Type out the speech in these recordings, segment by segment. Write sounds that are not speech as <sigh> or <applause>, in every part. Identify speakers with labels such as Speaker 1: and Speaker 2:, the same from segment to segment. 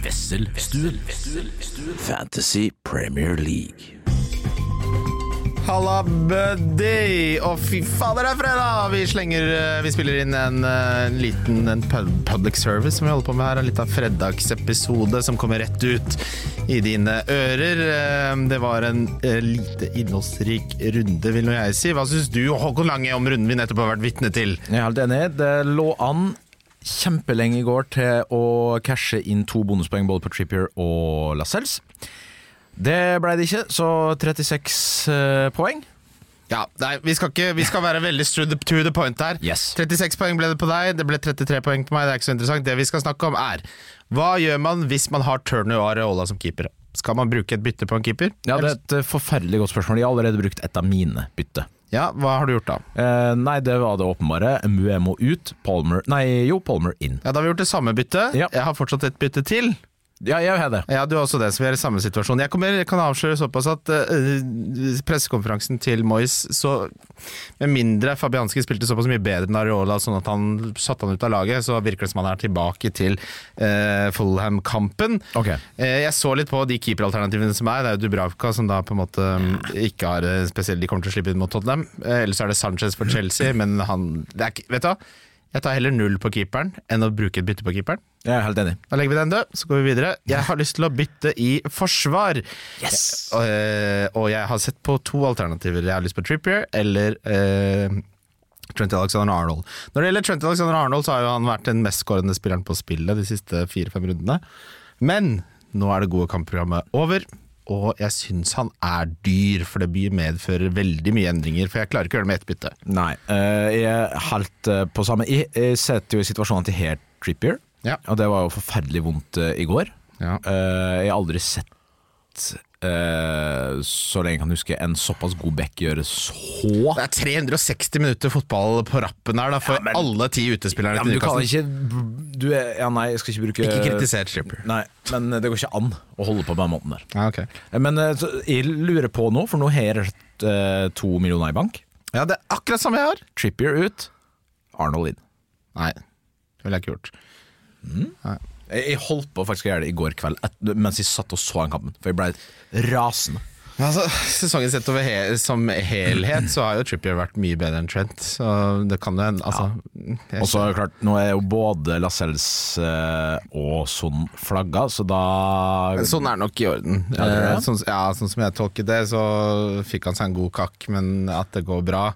Speaker 1: Vesselstuen. Fantasy Premier League.
Speaker 2: Halla, buddy! Å, fy fader, det er fredag! Vi slenger eh, Vi spiller inn en, eh, en liten en pub public service som vi holder på med her. En liten fredagsepisode som kommer rett ut i dine ører. Eh, Det var en eh, lite innholdsrik runde, vil nå jeg si. Hva syns du, Håkon Lange, om runden vi nettopp har vært vitne til?
Speaker 3: Jeg er helt enig. Det lå an kjempelenge i går til å cashe inn to bonuspoeng både på Trippier og Lascelles. Det ble det ikke, så 36 eh, poeng.
Speaker 2: Ja, nei, vi skal, ikke, vi skal være veldig to the, to the point her.
Speaker 3: Yes.
Speaker 2: 36 poeng ble det på deg, det ble 33 poeng på meg. Det er ikke så interessant. Det vi skal snakke om, er hva gjør man hvis man har Turner og Areola som keepere? Skal man bruke et bytte på en keeper?
Speaker 3: Ja, Det er et eh, forferdelig godt spørsmål. Jeg har allerede brukt et av mine bytte.
Speaker 2: ja Hva har du gjort da?
Speaker 3: Eh, nei, det var det åpenbare. Muemo ut, Palmer Nei, jo, Palmer inn.
Speaker 2: Ja, Da har vi gjort det samme byttet.
Speaker 3: Ja.
Speaker 2: Jeg har fortsatt et bytte til.
Speaker 3: Ja, jeg har det.
Speaker 2: Ja, du har også det, så vi er i samme situasjon. Jeg, kommer, jeg kan avsløre såpass at eh, pressekonferansen til Moyes, så med mindre Fabianski spilte såpass mye bedre enn Areola, sånn at han satte han ut av laget, så virker det som han er tilbake til eh, Fulham-kampen.
Speaker 3: Ok.
Speaker 2: Eh, jeg så litt på de keeperalternativene som er. Det er jo Dubravka, som da på en måte mm, ikke har eh, spesielt De kommer til å slippe inn mot Tottenham. Eh, Eller så er det Sanchez for Chelsea, men han det er, ikke- Vet du hva? Jeg tar heller null på keeperen enn å bruke et bytte på keeperen.
Speaker 3: Jeg er helt enig.
Speaker 2: Da legger vi den død, så går vi videre. Jeg har lyst til å bytte i forsvar.
Speaker 3: Yes!
Speaker 2: Eh, og jeg har sett på to alternativer. Jeg har lyst på Trippier eller eh, Trent Alexander Arnold. Når det gjelder Trent Alexander Arnold, så har jo han vært den mestskårende spilleren på spillet de siste fire-fem rundene. Men nå er det gode kampprogrammet over. Og jeg syns han er dyr, for det by- medfører veldig mye endringer. For jeg klarer ikke å gjøre det med ett bytte.
Speaker 3: Nei, eh, jeg er helt eh, på samme Jeg, jeg setter jo i situasjonen til Hair Trippier,
Speaker 2: Ja.
Speaker 3: og det var jo forferdelig vondt eh, i går.
Speaker 2: Ja.
Speaker 3: Eh, jeg har aldri sett eh, så lenge jeg kan huske en såpass god back gjøre så
Speaker 2: Det er 360 minutter fotball på rappen her da, for alle ti utespillerne
Speaker 3: ja,
Speaker 2: til
Speaker 3: men Du kan
Speaker 2: Newcastle.
Speaker 3: ikke du er, Ja, nei, jeg skal ikke bruke
Speaker 2: Ikke kritiser Trippier.
Speaker 3: Nei, men det går ikke an å holde på på den måten der.
Speaker 2: Ja, ok.
Speaker 3: Eh, Men eh, så, jeg lurer på nå, for nå har jeg rett, eh, to millioner i bank.
Speaker 2: ja, det er akkurat samme jeg har.
Speaker 3: Trippier ut, Arnold inn.
Speaker 2: Nei, det ville jeg ikke gjort.
Speaker 3: Jeg jeg holdt på faktisk å gjøre det i går kveld et, mens jeg satt og så den kampen, for jeg ble rasende.
Speaker 2: Altså, sesongen sett over he som helhet, så har jo Trippier vært mye bedre enn Trent. Så det kan jo hende, altså.
Speaker 3: Og så er det klart, nå er jo både Lascelles eh, og Son flagga, så da
Speaker 2: Jeg- Sånn er det nok i orden.
Speaker 3: Ja, det er det.
Speaker 2: Eh, Sånn, ja, sånn som jeg tolket det, så fikk han seg en god kakk, men at det går bra.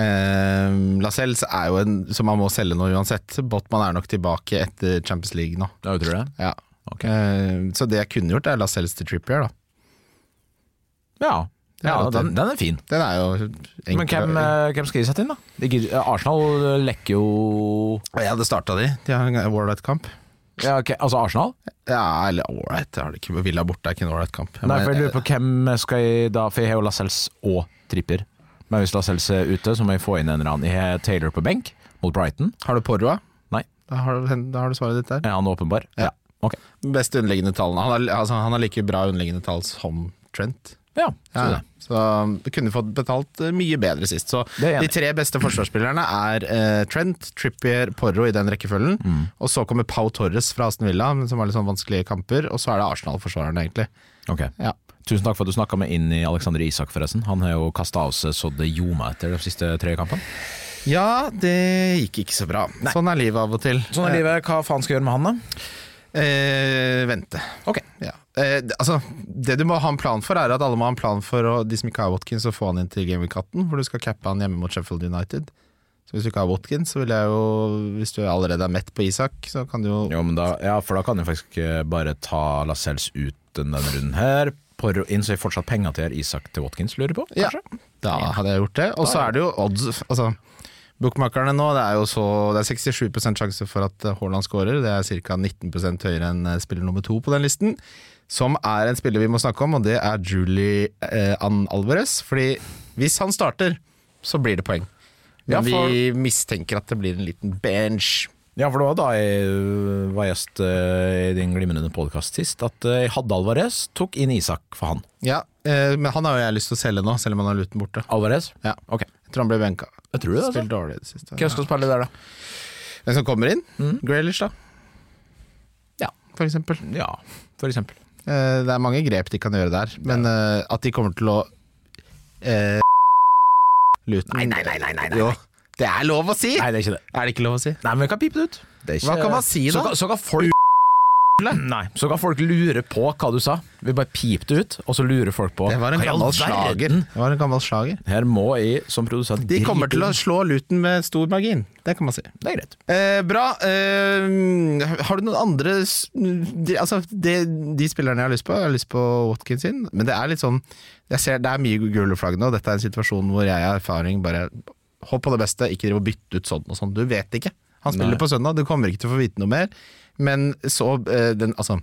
Speaker 2: Eh, Lascelles er jo en som man må selge nå uansett. Botman er nok tilbake etter Champions League nå.
Speaker 3: Ja, tror jeg.
Speaker 2: Ja.
Speaker 3: Ok.
Speaker 2: Eh, så det jeg kunne gjort, er Lascelles til Trippier, da.
Speaker 3: Ja, ja
Speaker 2: Ja,
Speaker 3: den, den er fin.
Speaker 2: Den er jo enkel.
Speaker 3: Men hvem, eh, hvem skal de sette inn, da? De gidder- eh, Arsenal lekker jo
Speaker 2: Jeg hadde starta de. De har en Warlight-kamp.
Speaker 3: ja, ok, Altså Arsenal?
Speaker 2: Ja, eller ålreit, det har det ikke. Villa borte er ikke en ålreit kamp.
Speaker 3: Nei,
Speaker 2: Men, eh,
Speaker 3: for jeg lurer på hvem skal jeg da For jeg har jo Lascelles og Trippier. Men hvis Lascelles er ute, så må jeg få inn en eller annen. Jeg har Taylor på benk mot Brighton.
Speaker 2: eh, Har du Porroa?
Speaker 3: Nei,
Speaker 2: Da har, du, da har du svaret ditt der.
Speaker 3: er han åpenbar?
Speaker 2: Ja.
Speaker 3: Ok.
Speaker 2: Beste underliggende tallene. Han har, altså, han har like bra underliggende tall som Trent.
Speaker 3: Ja, så
Speaker 2: Ja,
Speaker 3: det.
Speaker 2: så du kunne fått betalt eh, mye bedre sist. Så
Speaker 3: Det er jeg
Speaker 2: de
Speaker 3: enig i.
Speaker 2: tre beste forsvarsspillerne er eh, Trent, Trippier, Porro i den rekkefølgen.
Speaker 3: Mm.
Speaker 2: Og så kommer Pau Torres fra Aston Villa, men som har litt sånn vanskelige kamper. Og så er det Arsenal-forsvarerne, egentlig.
Speaker 3: Ok.
Speaker 2: Ja.
Speaker 3: Tusen takk for at du snakka med inn i Alexander Isak, forresten. Han har jo kasta av seg så det ljoma etter de siste tre kampene.
Speaker 2: ja, det gikk ikke så bra. Sånn er livet av og til.
Speaker 3: Sånn er livet. Hva faen skal jeg gjøre med han, da?
Speaker 2: Eh, vente.
Speaker 3: Ok.
Speaker 2: Ja. Eh, d- altså, det du må ha en plan for, er at alle må ha en plan for å, de som ikke har Watkins, å få han inn til Game Week 18, hvor du skal cappe han hjemme mot Sheffield United. Så hvis du ikke har Watkins, så vil jeg jo Hvis du allerede er mett på Isak, så kan du jo
Speaker 3: Jo, men da, ja, for da kan jeg faktisk eh, bare ta Lascelles ut denne runden her. Porro inn, så jeg fortsatt penger til Isak til Watkins, lurer jeg på?
Speaker 2: Ja,
Speaker 3: kanskje?
Speaker 2: da hadde jeg gjort det. Og så er det jo odds Altså, bookmakerne nå, det er jo så Det er 67 sjanse for at eh, Haaland scorer. Det er ca. 19 høyere enn eh, spiller nummer to på den listen. Som er en spiller vi må snakke om, og det er Julie eh, Ann Alvarez. Fordi hvis han starter, så blir det poeng. Men
Speaker 3: Ja, for-
Speaker 2: vi mistenker at det blir en liten bench.
Speaker 3: Ja, for det var da jeg øh, var gjest øh, i din glimrende podkast sist, at øh, jeg hadde Alvarez, tok inn Isak for han.
Speaker 2: Ja, eh, men han har jo jeg lyst til å selge nå, selv om han har luten borte.
Speaker 3: Alvarez?
Speaker 2: Ja.
Speaker 3: Ok.
Speaker 2: Jeg tror han ble benka.
Speaker 3: Jeg tror det, altså.
Speaker 2: Spilt dårlig i det siste.
Speaker 3: Hvem skal spille der, da?
Speaker 2: Mm. Den som kommer inn? Grealish, da.
Speaker 3: Ja.
Speaker 2: f.eks.
Speaker 3: Ja, for eksempel.
Speaker 2: Eh, Det er mange grep de kan gjøre der, men eh, at de kommer til å eh, Luten
Speaker 3: Nei, nei, nei, nei, nei, nei.
Speaker 2: Jo, det er lov å si!
Speaker 3: Nei, det er ikke det.
Speaker 2: Er det ikke lov å si?
Speaker 3: Nei, men vi kan pipe det ut. Det er
Speaker 2: Hva kan man si, da?
Speaker 3: Så kan, så kan folk Nei, så kan folk lure på hva du sa. Vi bare piper det ut, og så lurer folk på
Speaker 2: Det var en
Speaker 3: hva i all
Speaker 2: gammel
Speaker 3: verden?
Speaker 2: slager. Det var en gammel slager.
Speaker 3: Her må jeg som produsent
Speaker 2: De kommer
Speaker 3: gripe
Speaker 2: til å
Speaker 3: inn.
Speaker 2: slå Luton med stor margin. Det kan man si.
Speaker 3: Det er greit.
Speaker 2: Eh, bra. Eh, har du noen andre s- de, Altså, de, de spillerne jeg har lyst på, jeg har lyst på Watkins sin, men det er litt sånn jeg ser, Det er mye gule flagg nå, og dette er en situasjon hvor jeg har erfaring. Bare håp på det beste, ikke driv og bytte ut sånn og sånn. Du vet ikke. Han spiller
Speaker 3: Nei.
Speaker 2: på søndag, du kommer ikke til å få vite noe mer. Men så eh, den, Altså.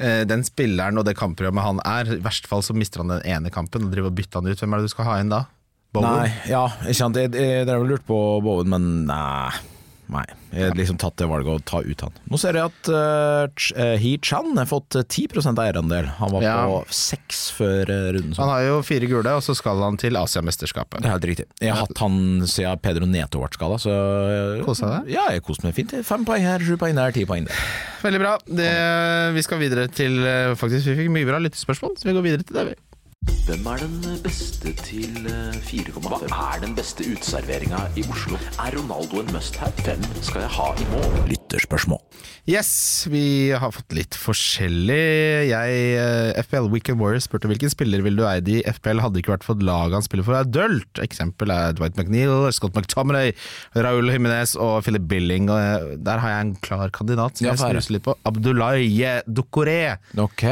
Speaker 2: eh, Den spilleren og det kampprogrammet han er, i verste fall så mister han den ene kampen og driver og bytter han ut. Hvem er det du skal ha inn da? Bowen?
Speaker 3: Nei, ja, ikke sant. Jeg, jeg, dere har vel lurt på Bowen, men nei. Nei, Jeg har liksom tatt det valget å ta ut han. Nå ser jeg at eh, Ch- eh, He Chan har fått eh, 10 eierandel. Han var
Speaker 2: Ja.
Speaker 3: på seks før eh, runden.
Speaker 2: Han
Speaker 3: Så.
Speaker 2: har jo fire gule, og så skal han til Asiamesterskapet.
Speaker 3: Det er helt riktig. Jeg har hatt han siden Pedro Neto ble skada, så eh,
Speaker 2: Koset deg?
Speaker 3: Ja, jeg koste meg fint. Fem poeng her, sju poeng der, ti poeng der.
Speaker 2: Veldig bra. Det, vi skal videre til eh, Faktisk, vi fikk mye bra lyttespørsmål, så vi går videre til det. vi.
Speaker 1: Hvem er den beste til eh, 4,5? Hva er den beste uteserveringa i Oslo? Er Ronaldo en must-have? Hvem skal jeg ha i mål?
Speaker 3: Lytterspørsmål.
Speaker 2: Yes, vi har fått litt forskjellig. Jeg, eh, FPL Weekend Warriors spurte hvilken spiller ville du eid i FPL hadde det ikke vært for laget han spiller for er dølt. Eksempel er Dwight McNeil, Scott McTominay, Raul Jimenez og Philip Billing. Og eh, der har jeg en klar kandidat som
Speaker 3: Ja,
Speaker 2: jeg
Speaker 3: få høre.
Speaker 2: snuser litt på. Abdulaye Dukoré.
Speaker 3: Ok.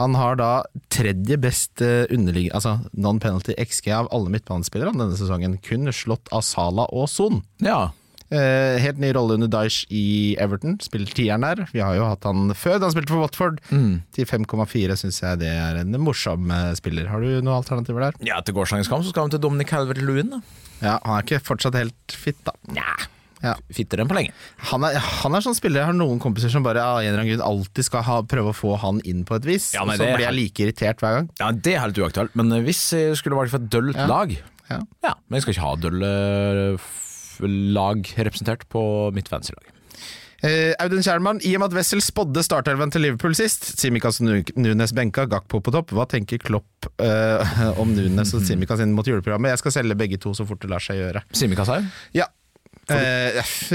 Speaker 2: Han har da tredje best eh, underligg... Altså non-penalty XG av alle midtbanespillere han denne sesongen. Kun slått av Sala og Son.
Speaker 3: Ja.
Speaker 2: Eh, helt ny rolle under Dyesh i Everton. Spiller tieren der. Vi har jo hatt han før da han spilte for Watford. Til 5,4 syns jeg det er en morsom eh, spiller. Har du noen alternativer der?
Speaker 3: ja, etter gårsdagens kamp så skal han til Dominic Calvert-Lewin. da.
Speaker 2: Ja, han er ikke fortsatt helt fit, da. Ja.
Speaker 3: Fittere enn på lenge.
Speaker 2: Han, er, han er sånn spiller jeg har noen kompiser som bare av en eller annen grunn alltid skal ha, prøve å få han inn på et vis.
Speaker 3: Ja, nei,
Speaker 2: og så
Speaker 3: det er-
Speaker 2: blir jeg like irritert hver gang.
Speaker 3: Ja, Det er helt uaktuelt, men eh, hvis jeg skulle vært for et dølt lag
Speaker 2: Ja.
Speaker 3: Ja, men jeg skal ikke ha dølle f- lag representert på mitt fancy-lag.
Speaker 2: Eh, Audun Kjærmann, i og med at Wessel spådde startelven til Liverpool sist, Simikaz og Nu- Nunes benka, Gakpo på topp, hva tenker Klopp eh, om Nunes og Simikaz inn mot juleprogrammet? Jeg skal selge begge to så fort det lar seg gjøre.
Speaker 3: Simi Kasau?
Speaker 2: Ja. Eh,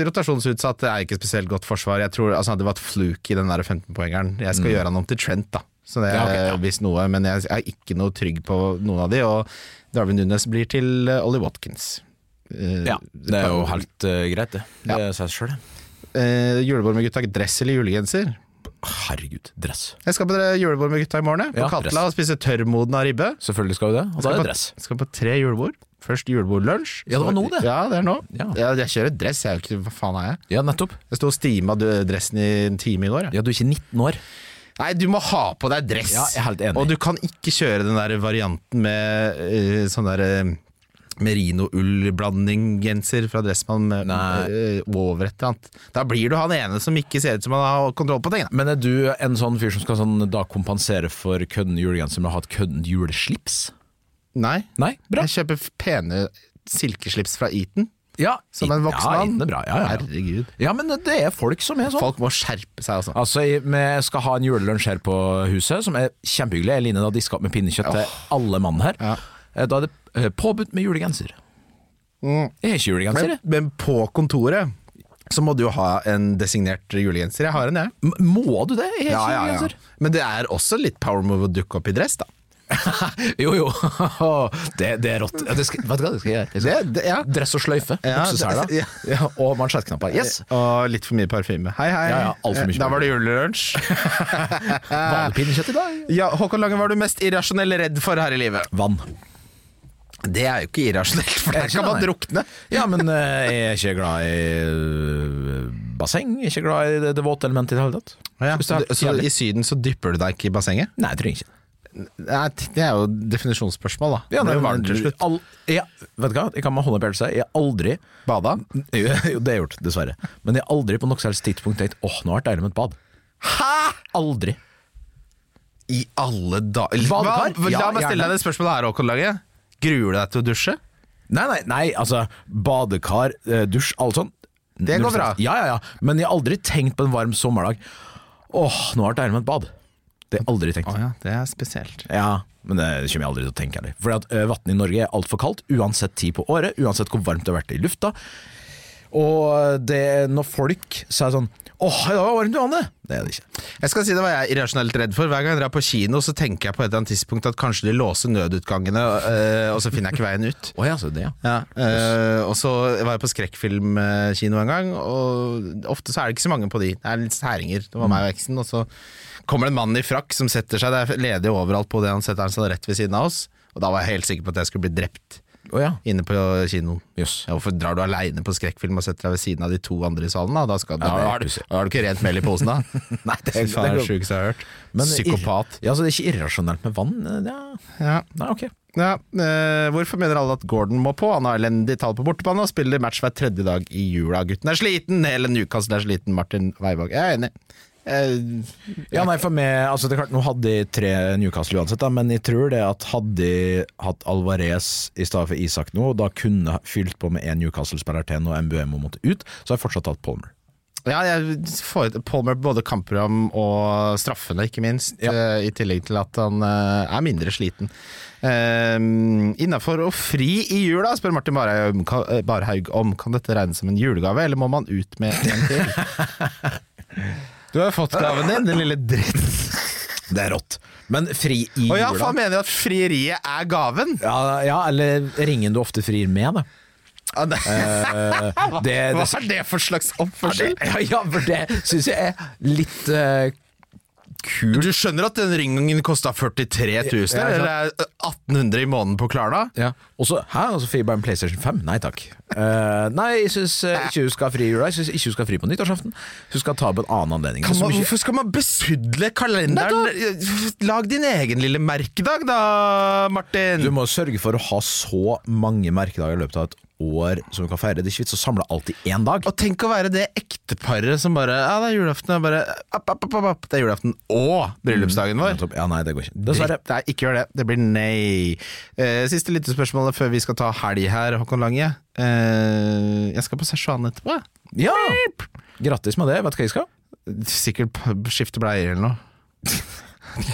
Speaker 2: rotasjonsutsatt er ikke spesielt godt forsvar. Jeg tror altså, Det var et fluk i den der 15-poengeren. Jeg skal gjøre han om til Trent, da. Så det er
Speaker 3: Mm. Ja, ok, ja.
Speaker 2: hvis noe, men jeg er ikke noe trygg på noen av de. Og Darwin Nunes blir til eh, Ollie Watkins. Eh,
Speaker 3: Ja, det er jo helt eh, greit, det. Det
Speaker 2: Ja.
Speaker 3: sier seg sjøl, det.
Speaker 2: eh, julebord med gutta, dress eller julegenser?
Speaker 3: Herregud, dress.
Speaker 2: Jeg skal på det julebord med gutta i morgen. jeg. På
Speaker 3: Ja,
Speaker 2: Katla
Speaker 3: dress.
Speaker 2: og spise tørrmodna ribbe.
Speaker 3: Selvfølgelig skal du det. Og da er
Speaker 2: Skal
Speaker 3: det
Speaker 2: på-
Speaker 3: dress.
Speaker 2: Skal på tre julebord. Først julebordlunsj.
Speaker 3: Ja, det var
Speaker 2: så-
Speaker 3: nå, det.
Speaker 2: Ja, det er nå.
Speaker 3: Ja.
Speaker 2: Ja, jeg kjører dress, jeg er jo ikke Hva faen er jeg?
Speaker 3: Ja, nettopp.
Speaker 2: Jeg sto og stima d- dressen i en time i går. jeg.
Speaker 3: Ja, du er ikke 19 år.
Speaker 2: Nei, du må ha på deg dress!
Speaker 3: Ja, jeg er helt enig.
Speaker 2: Og du kan ikke kjøre den der varianten med eh, sånn derre Merino-ull-blanding-genser fra Dressmann med-
Speaker 3: Nei.
Speaker 2: eh, over et eller annet. Da blir du han ene som ikke ser ut som han har kontroll på ting. Da.
Speaker 3: Men er du en sånn fyr som skal sånn, da kompensere for kødden julegenser med å ha et kødden juleslips?
Speaker 2: Nei.
Speaker 3: Nei, bra.
Speaker 2: Jeg kjøper f- pene silkeslips fra Eton.
Speaker 3: Ja,
Speaker 2: Som en
Speaker 3: ja,
Speaker 2: voksen mann.
Speaker 3: enten er bra. Ja, ja, ja.
Speaker 2: Herregud.
Speaker 3: ja, men det er folk som er sånn.
Speaker 2: Folk må skjerpe seg, altså.
Speaker 3: Altså, jeg- Vi skal ha en julelunsj her på huset, som er kjempehyggelig. Eline har diska opp med pinnekjøtt til alle mann her.
Speaker 2: Ja.
Speaker 3: Eh, Da er det eh, påbudt med julegenser. Jeg har ikke julegenser,
Speaker 2: Mm. Men,
Speaker 3: jeg.
Speaker 2: men på kontoret så må du jo ha en designert julegenser. Jeg har en, jeg.
Speaker 3: M- Må du det? Jeg har ikke julegenser.
Speaker 2: Men det er også litt power move å dukke opp i dress, da.
Speaker 3: <laughs> Jo, jo. Det, det er rått. Ja, det skal, vet du hva det skal jeg gjøre? Jeg skal,
Speaker 2: Det- det- ja.
Speaker 3: Dress og sløyfe,
Speaker 2: Ja,
Speaker 3: buksesela
Speaker 2: det- <laughs> ja.
Speaker 3: ja, og mansjettknapper. Yes.
Speaker 2: Eh, Og litt for mye parfyme. Hei, hei.
Speaker 3: Ja, ja, alt for mye
Speaker 2: da var det julelunsj. Eh,
Speaker 3: Vanlig pinnekjøtt i dag.
Speaker 2: Ja, Håkon Lange, hva er du mest irrasjonell redd for her i livet?
Speaker 3: Vann.
Speaker 2: Det er jo ikke irrasjonelt, for
Speaker 3: Er
Speaker 2: der
Speaker 3: det ikke
Speaker 2: kan
Speaker 3: det,
Speaker 2: man
Speaker 3: nei?
Speaker 2: drukne.
Speaker 3: Ja, men eh, jeg er ikke glad i eh, basseng. Jeg er ikke glad i det, det våte elementet i det hele tatt. Synes det
Speaker 2: Så,
Speaker 3: er helt jævlig.
Speaker 2: I Syden så dypper du deg ikke i bassenget?
Speaker 3: Nei, jeg trenger ikke det.
Speaker 2: Nei, Det er jo definisjonsspørsmål, da.
Speaker 3: Ja,
Speaker 2: det
Speaker 3: nei,
Speaker 2: blir jo
Speaker 3: men
Speaker 2: varmt til slutt.
Speaker 3: All, jeg, vet du hva, jeg kan med hånda på hjertet si, jeg har aldri <laughs>
Speaker 2: Bada?
Speaker 3: Jo, jo, det har jeg gjort, dessverre. Men jeg har aldri på noe særlig tidspunkt tenkt åh, nå har det vært deilig med et bad.
Speaker 2: Hæ?!
Speaker 3: Aldri.
Speaker 2: I alle dager
Speaker 3: Badekar?
Speaker 2: La
Speaker 3: Ja,
Speaker 2: meg stille
Speaker 3: gjerne.
Speaker 2: deg det spørsmålet her, Håkon Lange. Gruer du deg til å dusje?
Speaker 3: Nei, nei, nei, altså badekar, eh, dusj, alt sånt.
Speaker 2: Det går
Speaker 3: Null stress.
Speaker 2: bra.
Speaker 3: Ja, ja, ja. Men jeg har aldri tenkt på en varm sommerdag. Åh, nå har jeg vært med et bad. Det har jeg aldri tenkt.
Speaker 2: Å ja, det er spesielt.
Speaker 3: Ja, men det kommer jeg aldri til å tenke heller. Fordi at ø, vannet i Norge er altfor kaldt, uansett tid på året, uansett hvor varmt det har vært i lufta. Og det, når folk sier sånn Åh, i dag var det varmt i vannet! Det er det ikke.
Speaker 2: Jeg skal si det var jeg irrasjonelt redd for. Hver gang jeg drar på kino, så tenker jeg på et eller annet tidspunkt at kanskje de låser nødutgangene, øh, og så finner jeg ikke veien ut.
Speaker 3: Åh, ja, så det, ja.
Speaker 2: Ja, øh, og så var jeg på skrekkfilmkino en gang, og ofte så er det ikke så mange på de. Det er litt særinger. Det var meg og eksen, og så kommer det en mann i frakk som setter seg. Det er ledig overalt på det han setter seg rett ved siden av oss, og da var jeg helt sikker på at jeg skulle bli drept
Speaker 3: Å ja.
Speaker 2: inne på kinoen.
Speaker 3: Jøss.
Speaker 2: Ja, hvorfor drar du aleine på skrekkfilm og setter deg ved siden av de to andre i salen? Da, da, skal, da,
Speaker 3: Ja, det er
Speaker 2: har, du,
Speaker 3: pussig.
Speaker 2: da har du ikke rent mel i posen, <laughs> da.
Speaker 3: Nei, det,
Speaker 2: Fy faen, det er det
Speaker 3: går-
Speaker 2: sjukeste jeg har hørt.
Speaker 3: Men det er irr-
Speaker 2: Psykopat.
Speaker 3: Ja, så det er ikke irrasjonelt med vann? Ja.
Speaker 2: Ja.
Speaker 3: Nei, ok.
Speaker 2: Ja, eh, hvorfor mener alle at Gordon må på? Han har elendig tall på bortebane og spiller match hver tredje dag i jula. Gutten er sliten, hele Newcastle er sliten, Martin Weivåg. Jeg er enig. Eh,
Speaker 3: Ja, nei, for meg, altså det er klart, Nå hadde de tre Newcastle uansett, da, men jeg tror det at hadde de hatt Alvarez i stedet for Isak nå, og da kunne fylt på med én Newcastle-spiller til når Mbuemo måtte ut, så har jeg fortsatt hatt Palmer.
Speaker 2: ja, jeg får Palmer både kampprogram og straffene, ikke minst.
Speaker 3: Ja.
Speaker 2: eh, I tillegg til at han eh, er mindre sliten. Uh, Innafor å fri i jula, spør Martin Barhaug om, kan, eh, Barhaug om. Kan dette regnes som en julegave, eller må man ut med en til? <laughs> Du har fått gaven din, din lille dritt.
Speaker 3: Det er rått. Men fri i
Speaker 2: Å ja,
Speaker 3: jula?
Speaker 2: for han mener at frieriet er gaven!
Speaker 3: ja, ja, eller ringen du ofte frir
Speaker 2: <laughs>
Speaker 3: med, da.
Speaker 2: Ja, det,
Speaker 3: Eh, det,
Speaker 2: hva
Speaker 3: det,
Speaker 2: er det for slags
Speaker 3: ja, det,
Speaker 2: oppførsel?
Speaker 3: ja, ja, for det syns jeg er litt eh, kult.
Speaker 2: Du skjønner at den ringen kosta 43 000,
Speaker 3: Ja, ja,
Speaker 2: eller er det eh, 1800 i måneden på Klarna?
Speaker 3: Ja. Og så Hæ, og så fikk jeg bare en PlayStation 5? Nei takk. Eh, nei, jeg syns ikke du skal ha fri i jula. Jeg syns ikke du skal ha fri på nyttårsaften. Du skal ta på en annen anledning.
Speaker 2: Kan
Speaker 3: Så
Speaker 2: man,
Speaker 3: mye-
Speaker 2: hvorfor skal man besudle kalenderen? Lag din egen lille merkedag da, Martin!
Speaker 3: du må sørge for å ha så mange merkedager i løpet av et år som du kan feire. Det er ikke vits å samle alt i én dag.
Speaker 2: Og tenk å være det ekteparet som bare Ja, det er julaften. Jeg bare, app, app, app, app, app, det er julaften OG bryllupsdagen vår.
Speaker 3: Nettopp. Ja, nei, det går ikke. Dessverre.
Speaker 2: Dritt, Nei, ikke gjør det. Det blir nei. Eh, siste lyttespørsmålet før vi skal ta helg her, Håkon Lange. Eh, jeg skal på Sersjan etterpå. jeg.
Speaker 3: Ja! Grattis med det. Vet du hva jeg skal?
Speaker 2: Sikkert p- skifte bleier eller noe.
Speaker 3: Eh,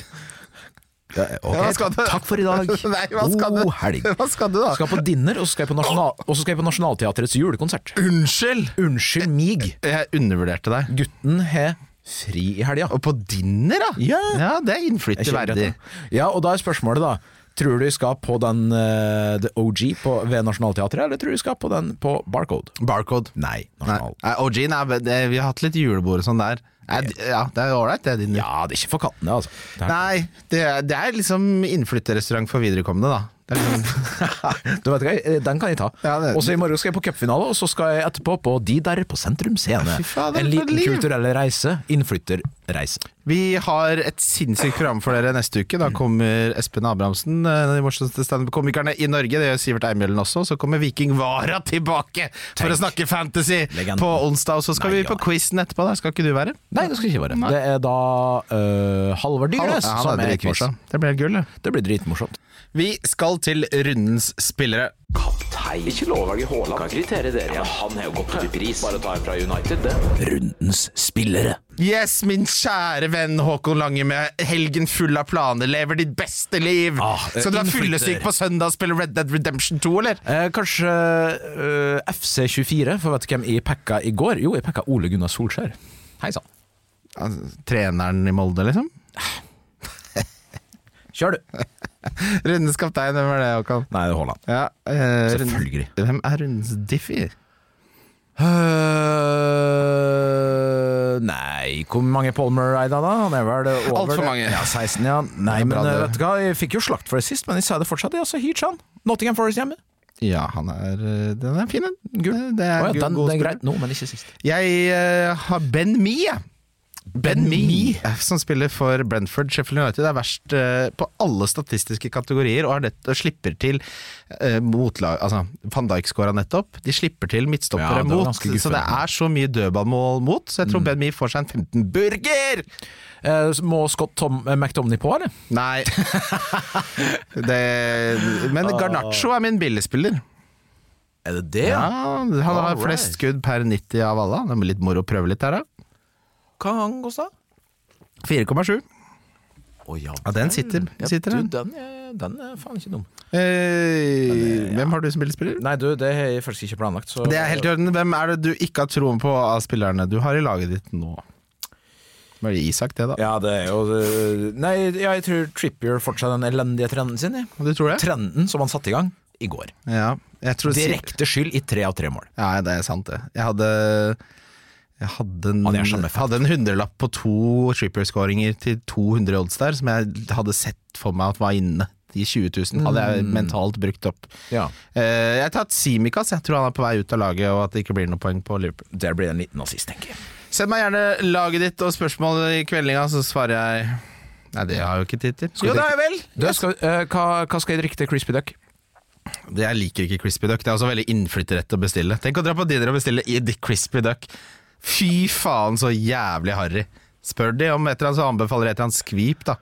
Speaker 3: Ok,
Speaker 2: hva skal du?
Speaker 3: Takk for i <laughs> dag.
Speaker 2: Nei, hva skal du?
Speaker 3: God helg.
Speaker 2: Hva skal du, da?
Speaker 3: Skal på dinner, og så skal jeg på, nasjonal og så skal jeg på Nationaltheatrets julekonsert.
Speaker 2: Unnskyld!
Speaker 3: Unnskyld mig.
Speaker 2: Jeg undervurderte deg.
Speaker 3: Gutten har fri i helga.
Speaker 2: Og på dinner, da!
Speaker 3: Ja.
Speaker 2: det er
Speaker 3: Jeg
Speaker 2: innflytter
Speaker 3: kjenner
Speaker 2: verdig.
Speaker 3: at- Ja, og da er spørsmålet da Tror du de skal på den eh, The OG på, ved Nationaltheatret, eller tror du de skal på den på Barcode?
Speaker 2: Barcode.
Speaker 3: Nei,
Speaker 2: Nei,
Speaker 3: Nasjonal.
Speaker 2: nei, OG-en er det, Vi har hatt litt julebord og sånn der. Nei, d- Ja, det er ålreit, det. Din.
Speaker 3: Ja, det er ikke for kattene, altså. Det er,
Speaker 2: Nei, det er, det er liksom innflytterrestaurant for viderekomne, da. Det er liksom, <laughs>
Speaker 3: du vet hva, eh, den kan jeg ta.
Speaker 2: Ja, det-
Speaker 3: og så i morgen skal jeg på cupfinale, og så skal jeg etterpå på De der på Sentrum Scene.
Speaker 2: Fy fader,
Speaker 3: en
Speaker 2: for
Speaker 3: liten
Speaker 2: liv.
Speaker 3: kulturell reise. Innflytterreise.
Speaker 2: Vi har et sinnssykt program for dere neste uke. Da kommer Espen Abrahamsen, eh, en av de morsomste standup-komikerne i Norge. Det gjør Sivert Eimjølen også. Så kommer Viking Vara tilbake for å snakke fantasy
Speaker 3: Legenden.
Speaker 2: på onsdag. Og så skal
Speaker 3: Nei,
Speaker 2: vi på
Speaker 3: ja.
Speaker 2: quizen etterpå. Der skal ikke du være?
Speaker 3: Nei, det skal ikke være. Det er da eh, Halvard
Speaker 2: Ja,
Speaker 3: Dyrnes
Speaker 2: han
Speaker 3: som
Speaker 2: er
Speaker 3: er quiz.
Speaker 2: dritmorsom. Det blir helt gull, det.
Speaker 3: Det blir dritmorsomt.
Speaker 2: Vi skal til rundens spillere.
Speaker 1: Kaptein. Ikke lov å velge Haaland. Kan kritere dere igjen. han har jo gått ut i pris. Bare ta en fra United, det.
Speaker 3: Rundens spillere.
Speaker 2: Yes, min kjære venn Håkon Lange med helgen full av planer. Lever ditt beste liv.
Speaker 3: Ah,
Speaker 2: skal du være
Speaker 3: innflytter.
Speaker 2: fyllesyk på søndag og spille Red Dead Redemption 2, eller?
Speaker 3: Eh, kanskje eh, FC24, for vet du hvem jeg packa i går? Jo, jeg packa Ole Gunnar Solskjær. Hei sann.
Speaker 2: treneren i Molde, liksom? <laughs>
Speaker 3: Kjør du!
Speaker 2: Rundens kaptein, hvem er det, Håkon?
Speaker 3: Nei, det er Haaland.
Speaker 2: Ja, eh,
Speaker 3: Selvfølgelig.
Speaker 2: Rund- Hvem er rundens Diffie?
Speaker 3: Eh, nei, hvor mange Palmer eide han da? Han er vel over
Speaker 2: Alt for
Speaker 3: det.
Speaker 2: mange.
Speaker 3: Ja, 16, ja. Nei,
Speaker 2: Det er
Speaker 3: men
Speaker 2: bra,
Speaker 3: eh,
Speaker 2: det.
Speaker 3: vet du hva, jeg fikk jo slakt for det sist, men jeg sa det fortsatt. Ja, så hitch han. Nottingham Forest hjemme.
Speaker 2: Ja, han er, eh, den er fin, den. Eh,
Speaker 3: Gul.
Speaker 2: Det er
Speaker 3: Å ja,
Speaker 2: gul-
Speaker 3: den,
Speaker 2: god
Speaker 3: den er
Speaker 2: spiller.
Speaker 3: greit nå, men ikke sist.
Speaker 2: Jeg eh, har Ben Me, jeg. Ben,
Speaker 3: Ben
Speaker 2: Mee, eh, som spiller for Brentford Sheffield United, er verst eh, på alle statistiske kategorier og, har nett, og slipper til eh, motlag Altså, Van Dijk skåra nettopp. De slipper til
Speaker 3: Ja,
Speaker 2: midtstoppere
Speaker 3: det var
Speaker 2: mot,
Speaker 3: ganske Mm.
Speaker 2: så det
Speaker 3: guffent.
Speaker 2: er så mye dødballmål mot, så jeg tror Ben Me får seg en 15 burger!
Speaker 3: Eh, må Scott Tom, eh, McTomney på, eller? <laughs>
Speaker 2: Nei. det, men Garnaccio er min billigspiller.
Speaker 3: Er det det?
Speaker 2: Ja, han har
Speaker 3: Alright.
Speaker 2: flest skudd per 90 av alle. Det blir litt moro å prøve litt der, da.
Speaker 3: Hva han kosta?
Speaker 2: 4,7.
Speaker 3: Å, ja,
Speaker 2: Ja, den sitter-
Speaker 3: Ja,
Speaker 2: sitter
Speaker 3: du,
Speaker 2: den.
Speaker 3: den. er- Den er faen ikke dum.
Speaker 2: Eh, hvem har du som billedspiller?
Speaker 3: Nei, du, det har jeg faktisk ikke planlagt. Så
Speaker 2: Det er helt i orden. Hvem er det du ikke har troen på av spillerne du har i laget ditt nå? Var det Isak, det, da?
Speaker 3: Ja, det er jo det- Nei, ja, jeg tror Trippier fortsetter den elendige trenden sin. jeg.
Speaker 2: Du tror det?
Speaker 3: Trenden som han satte i gang i går.
Speaker 2: Ja. Jeg tror
Speaker 3: Direkte skyld i tre av tre mål.
Speaker 2: Ja, det er sant, det. Jeg hadde jeg hadde en,
Speaker 3: Han er samme fatt.
Speaker 2: hadde en hundrelapp på to Trippier-skåringer til 200 odds der, som jeg hadde sett for meg at var inne. De 20 000 hadde
Speaker 3: Mm.
Speaker 2: jeg mentalt brukt opp.
Speaker 3: Ja.
Speaker 2: Eh, jeg har tatt Simikaz, jeg tror han er på vei ut av laget, og at det ikke blir noe poeng på Liverpool.
Speaker 3: Der blir det en liten nazist, tenker jeg.
Speaker 2: Send meg gjerne laget ditt og spørsmål i kveldinga, så svarer jeg Nei, det har jo ikke tid til. Jo, det har jeg vel!
Speaker 3: Du, skal, eh, hva, hva skal jeg drikke til Crispy Duck?
Speaker 2: Det jeg liker ikke Crispy Duck. Det er også veldig innflytterrett å bestille. Tenk å dra på Dinner og bestille i The Crispy Duck. Fy faen, så jævlig harry. Spør de om et eller annet, så anbefaler jeg et eller annet skvip, da.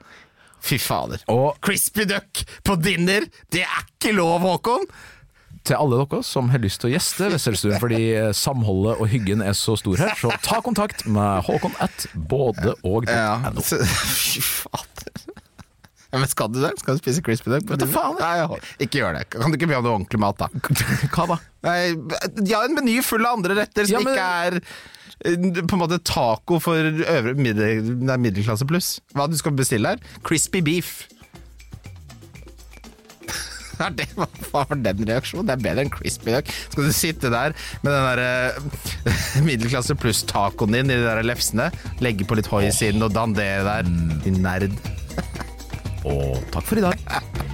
Speaker 2: Fy fader.
Speaker 3: Og
Speaker 2: Crispy Duck på Dinner! Det er ikke lov, Håkon!
Speaker 3: til alle dere som har lyst til å gjeste Vesterstuen, fordi eh, samholdet og hyggen er så stor her, så ta kontakt med Håkon at både og
Speaker 2: Ja. så- <laughs> Fy fader. Ja, men skal du det? Skal du spise crispy duck? Vet
Speaker 3: du faen, jeg.
Speaker 2: Nei, jeg- ikke gjør det. Kan du ikke be om noe ordentlig mat, da?
Speaker 3: Hva da?
Speaker 2: Nei, de har en meny full av andre retter som
Speaker 3: Ja, men-
Speaker 2: ikke er eh, på en måte taco for øvre middel, nei, middelklasse pluss. Hva du skal bestille her? Crispy beef. <laughs> Er det, hva hva var den reaksjonen? Det er bedre enn crispy duck. Skal du sitte der med den der eh, <laughs> middelklasse pluss tacoen din i de der lefsene, legge på litt hoi i siden og dandere der, din nerd.
Speaker 3: Og takk for i dag.